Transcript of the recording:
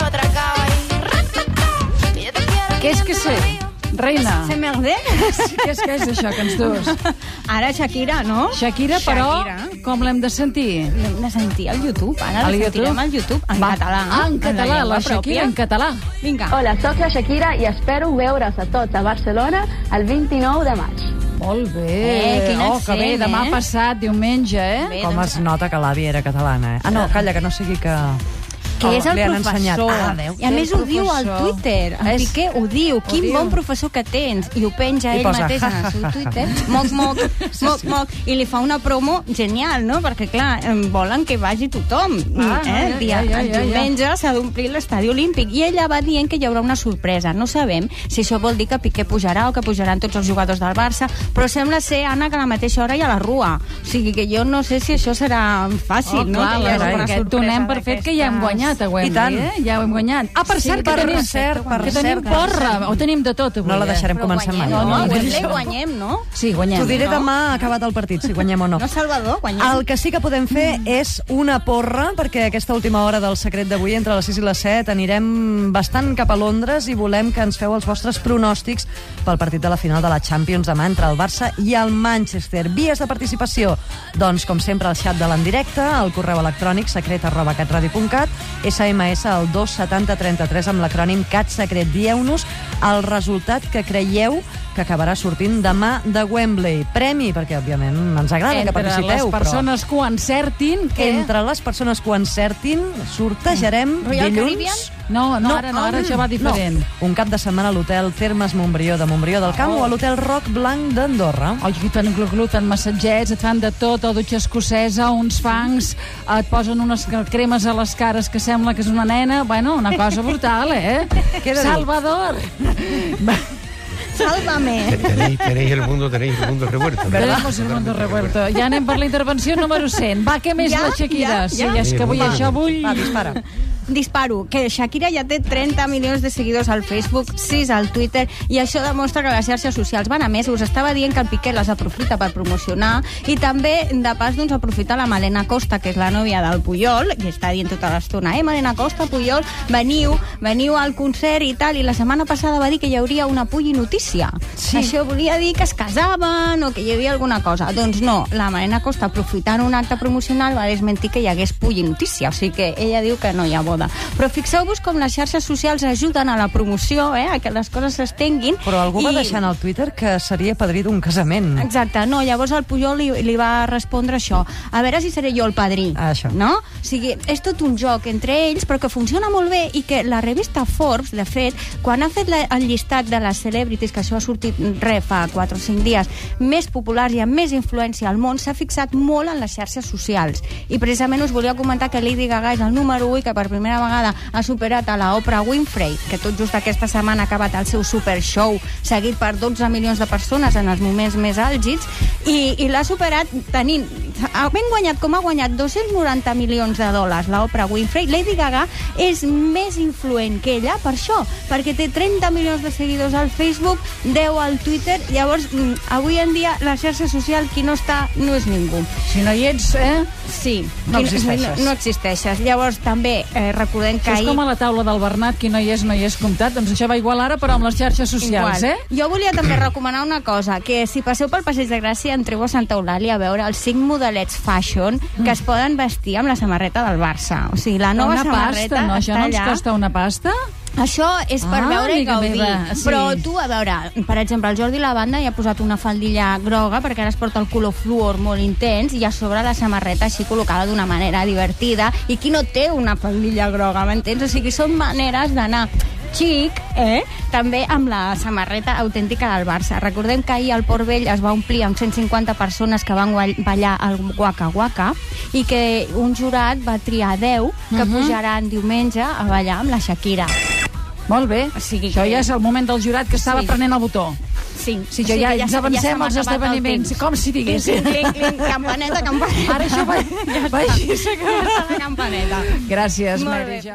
Ah. Valverde? Sí que és que és això, que ens dos. Ara Shakira, no? Shakira, però, Shakira. com l'hem de sentir? L'hem de sentir al YouTube, ara Al la YouTube? sentirem al YouTube, en Va. català. Ah, en català, llengua la, Shakira, pròpia. en català. Vinga. Hola, sóc la Shakira i espero veure's a tots a Barcelona el 29 de maig. Molt bé. Eh, quin oh, que accent, bé, demà eh? passat, diumenge, eh? Bé, Com doncs, es nota que l'àvia era catalana, eh? Ah, no, calla, que no sigui que... que és el li han professor. Ensenyat. Ah, adéu. I a Que més el ho diu al professor. Twitter. El És- Piqué ho diu. Quin diu. bon professor que tens. I ho penja I ell posa, mateix "Ja, en el seu ja, ja". Twitter. Moc, moc, moc, moc. I li fa una promo genial, no? Perquè, clar, em volen que vagi tothom. Ah, eh? ja, El dia, ja, ja, el ja. diumenge s'ha d'omplir l'estadi olímpic. I ella va dient que hi haurà una sorpresa. No sabem si això vol dir que Piqué pujarà o que pujaran tots els jugadors del Barça, però sembla ser, Anna, que a la mateixa hora hi ha la rua. O sigui que jo no sé si això serà fàcil, Oh, no? clar, Que hi la, hagi la, alguna que sorpresa donem per fet que ja hem d'aquestes. guanyat a Wembley, I tant. eh? Ja ho hem guanyat. Ah, per Sí, cert, que per tenim, cert, per que tenim cert, per porra. Ho tenim de tot, avui. No la deixarem Eh? Però començar mai. Doncs no, guanyem, no? A no, Wembley no. guanyem, no? Sí, guanyem. T'ho diré No? demà acabat el partit, si guanyem o no. No, Salvador, guanyem. El que sí que podem fer és una porra, perquè aquesta última hora del secret d'avui, entre les 6 i les 7, anirem bastant cap a Londres i volem que ens feu els vostres pronòstics pel partit de la final de la Champions demà entre el Barça i el Manchester. Vies de participació, doncs, com sempre, al xat de l'endirecte, al correu electrònic secret arroba catradio.cat, SMS al 27033 amb l'acrònim CatSecret. Dieu-nos el resultat que creieu que acabarà sortint demà de Wembley. Premi, perquè, òbviament, ens agrada Entre que participeu, les persones que ho encertin, Eh? però que... entre les persones que ho encertin, sortejarem Royal dilluns... Caribbean? No, no, ara no, ara ah, això va diferent. Oh. No. Un cap de setmana a l'hotel Termes Montbrió de Montbrió del Camp o a l'hotel Roc Blanc d'Andorra. Oi, et fan glu-glu, et fan massatgets, et fan de tot, o dutxa escocesa, uns fangs, et posen unes cremes a les cares que sembla que és una nena. Bueno, una cosa brutal, eh? Què he de dir? Salvador! Sálvame. Tenéis, tenéis el mundo, tenéis el mundo revuelto. ¿verdad? Tenemos el mundo revuelto. Ja anem per la intervenció número 100. Va, què més Ja? la Shakira? Ja? Sí, Ja? és que avui Va. això vull... Va, dispara. Disparo, que Shakira ja té 30 milions de seguidors al Facebook, 6 al Twitter, i això demostra que les xarxes socials van a més. Us estava dient que el Piqué les aprofita per promocionar i també, de pas, doncs, aprofitar la Malena Costa, que és la nòvia del Puyol, i està dient tota l'estona, eh, Malena Costa, Puyol, veniu, veniu al concert i tal, i la setmana passada va dir que hi hauria una pulli notícia. Sí. Això volia dir que es casaven o que hi havia alguna cosa. Doncs no, la Marina Costa, aprofitant un acte promocional, va desmentir que hi hagués pulli notícia, o sigui que ella diu que no hi ha boda. Però fixeu-vos com les xarxes socials ajuden a la promoció, eh, a que les coses s'estenguin. Però algú I... va deixar en el Twitter que seria padrí d'un casament. Exacte, no, llavors el Puyol li, li va respondre això. A veure si seré jo el padrí. Ah, això. No? O sigui, és tot un joc entre ells, però que funciona molt bé i que la revista Forbes, de fet, quan ha fet la, el llistat de les celebrities, que això ha sortit re fa 4 o 5 dies, més populars i amb més influència al món, s'ha fixat molt en les xarxes socials. I precisament us volia comentar que Lady Gaga és el número 1 i que per primera vegada ha superat a la Oprah Winfrey, que tot just aquesta setmana ha acabat el seu super show, seguit per 12 milions de persones en els moments més àlgids, i, i l'ha superat tenint, havent Ah, guanyat com ha guanyat 290 milions de dòlars la Oprah Winfrey, Lady Gaga és més influent que ella per això, perquè té 30 milions de seguidors al Facebook, 10 al Twitter, llavors mm, avui en dia la xarxa social qui no està no és ningú. Si no hi ets, eh? Sí, No qui- existeixes. No, no existeixes. Llavors també eh, recordem que Això és ahir... com a la taula del Bernat, qui no hi és, no hi és comptat. Doncs això va igual ara, però amb les xarxes socials, Igual. eh? Jo volia també recomanar una cosa, que si passeu pel Passeig de Gràcia entreu a Santa Eulàlia a veure els cinc modelets fashion que es poden vestir amb la samarreta del Barça. O sigui, la nova una samarreta pasta, no? Això està no ens allà. costa una pasta? Això és per Ah, veure i amiga gaudir. meva, sí. Però tu, a veure, per exemple, el Jordi Lavanda hi ha posat una faldilla groga perquè ara es porta el color fluor molt intens i a sobre la samarreta així col·locada d'una manera divertida. I qui no té una faldilla groga, m'entens? O sigui, són maneres d'anar xic, eh? també amb la samarreta autèntica del Barça. Recordem que ahir el Port Vell es va omplir amb 150 persones que van guall- ballar al Waka Waka i que un jurat va triar 10 que Mhm. pujaran diumenge a ballar amb la Shakira. Molt bé. O sigui Això que- ja és el moment del jurat que estava Sí. prenent el botó. Sí, Si jo ja, ja ens avancem als esdeveniments, com si diguéssim. Clinc, clinc, campaneta, campaneta. Ara això va, ja va així s'acabarà. campaneta. Gràcies, Molt Mary bé. Jo.